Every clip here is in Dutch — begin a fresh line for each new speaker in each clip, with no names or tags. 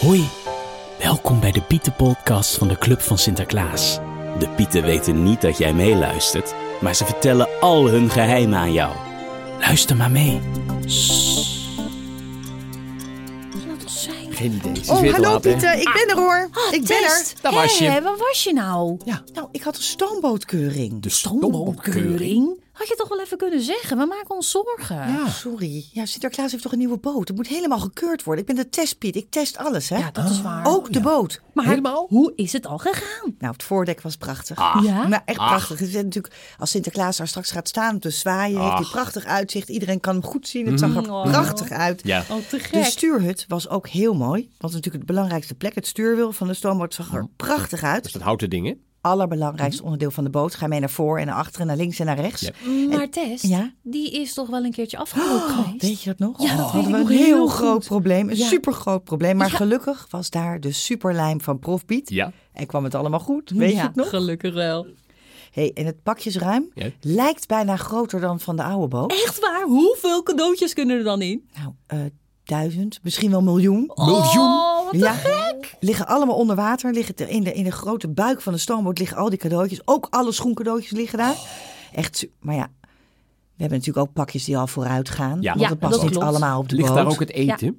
Hoi, welkom bij de Pietenpodcast van de Club van Sinterklaas. De Pieten weten niet dat jij meeluistert, maar ze vertellen al hun geheimen aan jou. Luister maar mee.
Geen idee. Het is
Oh,
weer te
hallo
laat, hè?
Pieter, ik ben er hoor. ik ben er.
Test.
Daar was je.
Hé, Ah, waar was je nou?
Ah, Nou, ik had een stoombootkeuring.
De
Stoombootkeuring? Had je toch wel even kunnen zeggen? We maken ons zorgen.
Ja.
Sorry. Ja, Sinterklaas heeft toch een nieuwe boot? Het moet helemaal gekeurd worden. Ik ben de testpiet. Ik test alles, hè?
Ja, dat is waar.
Ook de boot.
maar
helemaal?
hoe is het al gegaan?
Nou, het voordek was prachtig.
Ah.
Ja?
Nou, echt prachtig. Het is natuurlijk, als Sinterklaas daar straks gaat staan op de zwaaien, heeft
Ah.
hij prachtig uitzicht. Iedereen kan hem goed zien. Het zag er
Oh.
prachtig uit.
Mhm. Ja.
Oh, te
De
gek.
stuurhut was ook heel mooi. Want natuurlijk de belangrijkste plek, het stuurwiel van de stoomboot, zag er prachtig uit.
Dus dat houten ding, hè?
Allerbelangrijkste onderdeel van de boot. Ga mee naar voor en naar achteren, naar links en naar rechts.
maar Tess,
Ja?
die is toch wel een keertje afgelopen geweest?
Weet je dat nog?
Ja, dat
Oh,
weet ik
hadden we
nog
een heel,
heel
groot
goed.
probleem. Een
Ja. Dus
supergroot probleem. Maar gelukkig was daar de superlijm van Prof Piet.
Ja.
En kwam het allemaal goed. Weet
Ja,
je het nog?
gelukkig wel.
hey, en het pakjesruim
Ja.
lijkt bijna groter dan van de oude boot.
Echt waar? Hoeveel cadeautjes kunnen er dan in?
Nou, eh, duizend, misschien wel miljoen.
Miljoen.
Oh, wat
ja, liggen allemaal onder water. Liggen te- in, de, in de grote buik van de stoomboot liggen al die cadeautjes. Ook alle schoencadeautjes liggen daar. Echt, su- maar ja, we hebben natuurlijk ook pakjes die al vooruit gaan.
Ja,
want
Ja,
het past
dat
niet
klopt.
allemaal op de
Ligt
boot.
daar ook het eten?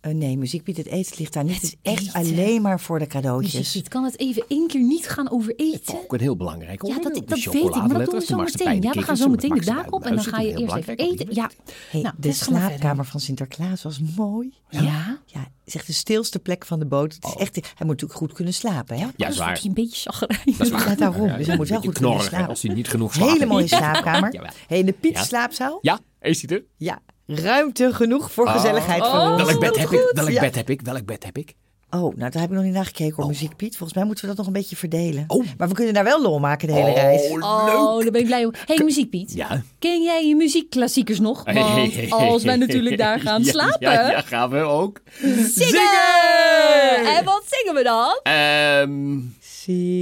Eh, nee, muziek biedt het eten ligt daar niet. Het is
Het
echt
eten.
alleen maar voor de
Jezus,
cadeautjes.
dit kan het even één keer niet gaan over eten.
Ook een heel belangrijk
Ja,
onderdeel.
dat,
Die
dat weet ik, maar dat doen we
chocoladeletters, de
zo meteen.
marsepijn, de
Ja, we gaan
kikkers,
zo meteen de
maxi-
daak op en dan
luizen,
ga je
heel
eerst even
belangrijk,
eten.
want die
Ja.
Hey,
Nou,
de
Tess, ga maar verder.
slaapkamer van Sinterklaas was mooi.
Ja?
Ja, het is echt de stilste plek van de boot. Het is echt, hij moet natuurlijk goed kunnen slapen. Hè?
Oh. Ja,
Anders
zwaar.
wordt hij een beetje chagrijnig.
Dat is waar.
Ja, daarom.
Ja,
Dus
ja,
hij moet wel
een
goed
beetje
kunnen
knorrig, hè,
slapen.
Als hij niet genoeg slaapt.
Hele mooie
Ja.
slaapkamer.
Ja, ja.
Hey, de Piet
Ja.
slaapzaal.
Ja, is hij er?
Ja, ruimte genoeg voor gezelligheid van ons.
Oh. Welk bed heb ik? Welk
Ja.
bed heb ik? Welk bed heb ik?
Oh, nou daar heb ik nog niet naar gekeken hoor, muziek Piet. Volgens mij moeten we dat nog een beetje verdelen.
Oh.
Maar we kunnen daar wel lol maken de hele reis.
Oh, daar ben ik blij om. Hé, hey, muziekpiet.
Ja.
Ken jij je muziekklassiekers nog?
Hey, hey,
Want
hey,
als wij
hey,
natuurlijk
hey,
daar gaan
ja,
slapen,
Ja, ja, gaan we ook.
zingen!
Zingen!
En wat zingen we dan?
Ehm,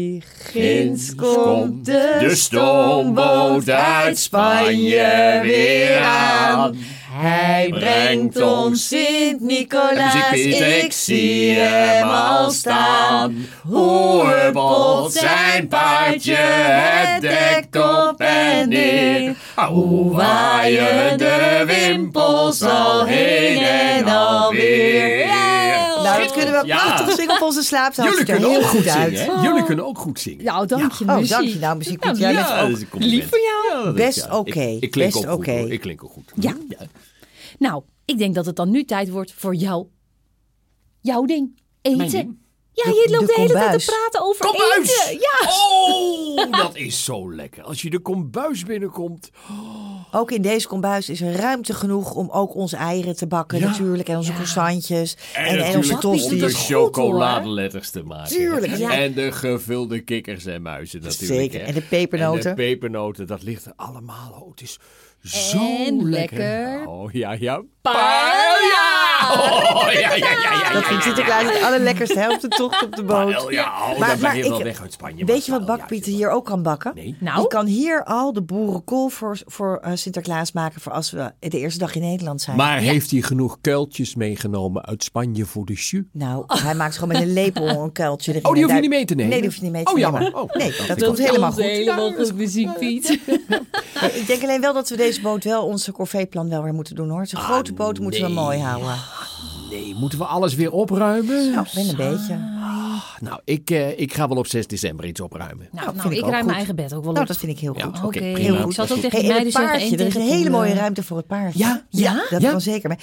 Sigins
komt de stoomboot uit Spanje weer aan.
Hij
brengt ons
Sint-Nicolaas.
Muziek Piet, ik zie hem al staan. Hoe huppelt zijn paardje het dek op en neer. Ah, Hoe waaien de wimpels al heen en alweer.
Yeah!
Nou, dat kunnen we
Ja.
prachtig zingen op onze slaapzaal. Het ziet er heel goed uit.
Jullie kunnen ook goed zingen.
Nou, dank je,
Oh,
muziek.
dank je nou, dus- muziek Piet.
Nou,
Jij bent
Ja,
ook-
dat is een compliment.
lief van
Ja, dat is-
Best
ja, ik-
oké,
Ik klink
best
ook goed.
oké.
hoor. Ik klink ook goed.
Ja. Nou, ik denk dat het dan nu tijd wordt voor jou. Jouw ding. Eten.
ding?
Ja,
De-
je loopt
de
de, hele tijd
kombuis.
te praten over
Kombuis!
eten. Ja.
Oh, dat is zo lekker. Als je de kombuis binnenkomt.
Ook in deze kombuis is er ruimte genoeg om ook onze eieren te bakken
Ja.
natuurlijk. En onze croissantjes. En, en, onze
natuurlijk om de
Dat is
tosti's.
goed, hoor.
chocoladeletters te maken.
Tuurlijk, ja.
En de gevulde kikkers en muizen natuurlijk.
Zeker.
hè.
En de pepernoten.
En de pepernoten, dat ligt er allemaal. Oh, het is zo
En
lekker.
lekker.
Oh, ja, ja.
Paella!
Oh, ja, ja, ja, ja, ja.
Dat vindt Sinterklaas het allerlekkerste hè, op de tocht op de boot.
Ja, oh,
Maar-
dan ben
maar
je
ik-
wel weg uit Spanje.
Weet je wat
paella,
bakpieter
ja.
hier ook kan bakken?
Nee.
Nou?
Je kan hier al de boerenkool voor, voor eh, Sinterklaas maken voor als we de eerste dag in Nederland zijn.
Maar heeft hij genoeg kuiltjes meegenomen uit Spanje voor de jus?
Nou, hij maakt gewoon met een lepel een kuiltje erin.
Oh, die hoef je
En
niet mee te nemen?
Nee, die hoef je niet mee te
Oh,
nemen.
jammer. Oh,
nee,
dat
dat
is
komt helemaal goed.
Helemaal goed, muziek, Piet.
Nou, Ik denk alleen wel dat we deze boot wel onze corvée-plan wel weer moeten doen hoor. Zo'n grote boot moeten we
Ah, nee.
mooi houden.
Nee, moeten we alles weer opruimen?
Nou, ben een beetje.
Nou, ik, eh, ik ga wel op 6 december iets opruimen.
Nou, nou
vind ik
ik,
ook
ruim mijn
goed.
eigen bed ook wel
Nou,
op.
dat vind ik heel goed.
Ja,
Oké,
Oké, prima.
ik zat ook tegen
Hey,
de
en
meiden zeggen...
het paardje,
één
er is
tegen eh.
een
de
hele mooie
koe.
ruimte voor het paardje.
Ja? Ja?
dat
Ja?
kan zeker. Maar,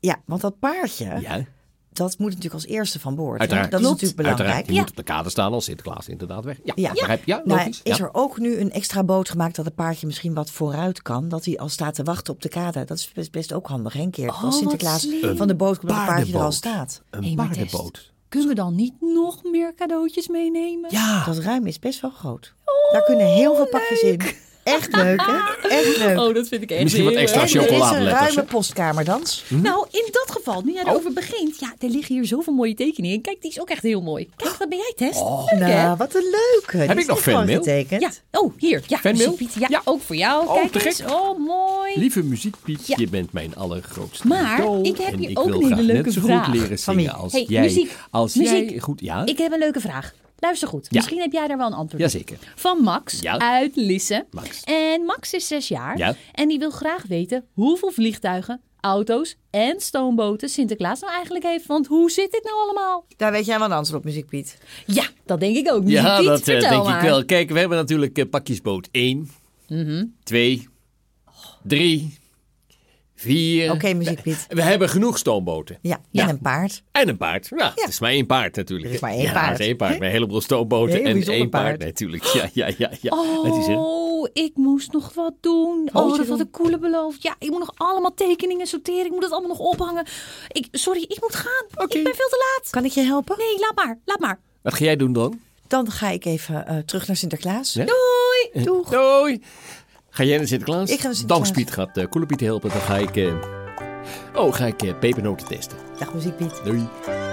ja, want dat paardje,
Ja,
dat moet natuurlijk als eerste van boord. hè?
uiteraard.
Dat is natuurlijk belangrijk.
Uiteraard, die moet op de kade staan als Sinterklaas inderdaad weg. Ja,
Ja.
begrijp je? Ja,
Nou,
logisch.
is
ja.
er ook nu een extra boot gemaakt dat het paardje misschien wat vooruit kan? Dat hij al staat te wachten op de kade. Dat is best, best ook handig, hè, een keer.
Oh, wat
als Sinterklaas
slim.
van de boot komt, dat het paardje er al
Paardenboot.
staat.
Een
Hey, maar Tess,
paardenboot.
Kunnen we dan niet nog meer cadeautjes meenemen?
Ja,
Dat ruim is best wel groot. Daar kunnen heel veel pakjes in. Echt leuk, hè? Echt leuk.
Oh, dat vind ik echt
Misschien wat Hm?
heel
extra
erg
en er is een
chocoladeletters,
ruime
hè?
postkaderdans.
Nou, in dat geval, nu
Oh.
jij erover begint. Ja, er liggen hier zoveel mooie tekeningen. Kijk, die is ook echt heel mooi. Kijk, dat ben jij, Tess.
Oh.
Leuk, hè?
Nou, wat een leuke. Heb
ik nog fanmail?
getekend?
Ja, oh, hier. Ja,
Fanmail?
muziekpiet. Ja, ook voor jou.
Oh, te
Kijk
gek.
eens. Oh, mooi.
Lieve muziekpiet,
Ja.
je bent mijn allergrootste
Maar
idool
ik heb
en
hier
ik
ook
wil
een hele
graag
leuke
net zo
vraag.
goed leren
Van wie?
zingen als
Hey,
jij.
muziek.
Als
Muziek.
jij goed, ja.
Ik heb een leuke vraag. Luister goed. Misschien heb jij daar wel een antwoord op.
Jazeker.
Van Max
Ja.
uit Lisse.
Max.
En Max is zes jaar.
Ja.
En die wil graag weten hoeveel vliegtuigen, auto's en stoomboten Sinterklaas nou eigenlijk heeft. Want hoe zit dit nou allemaal?
Daar weet jij wel een antwoord op, muziek Piet.
Ja, dat denk ik ook. niet.
Ja,
Piet,
dat eh,
vertel
denk
maar.
ik wel. Kijk, we hebben natuurlijk eh, pakjesboot 1,
Mhm.
2, 3, 4.
Oké, muziek Piet.
We hebben genoeg stoomboten.
Eh, Ja, en
Ja.
een paard.
En een paard. Nou, het is maar één paard natuurlijk.
Er is maar één
ja,
paard.
Er is één paard. Maar een heleboel stoomboten
Heel
en
bijzonder
één paard.
paard.
natuurlijk. Ja, ja, ja. ja. Het is, hè.
Oh, ik moest nog wat doen. Oh, dat had ik coole beloofd. Ja, ik moet nog allemaal tekeningen sorteren. Ik moet het allemaal nog ophangen. Ik, sorry, ik moet gaan. Ik ben veel te laat.
Kan ik je helpen?
Nee, laat maar. Laat maar.
Wat ga jij doen dan?
Dan ga ik even eh, terug naar Sinterklaas.
Ja.
Doei.
Eh,
Doeg.
Doei. Ga jij naar Sinterklaas?
Ik ga naar Sinterklaas.
Dan Piet gaat eh Koele Piet helpen. Dan ga ik... eh, oh, ga ik eh, pepernoten testen.
Dag, muziek Piet.
Doei.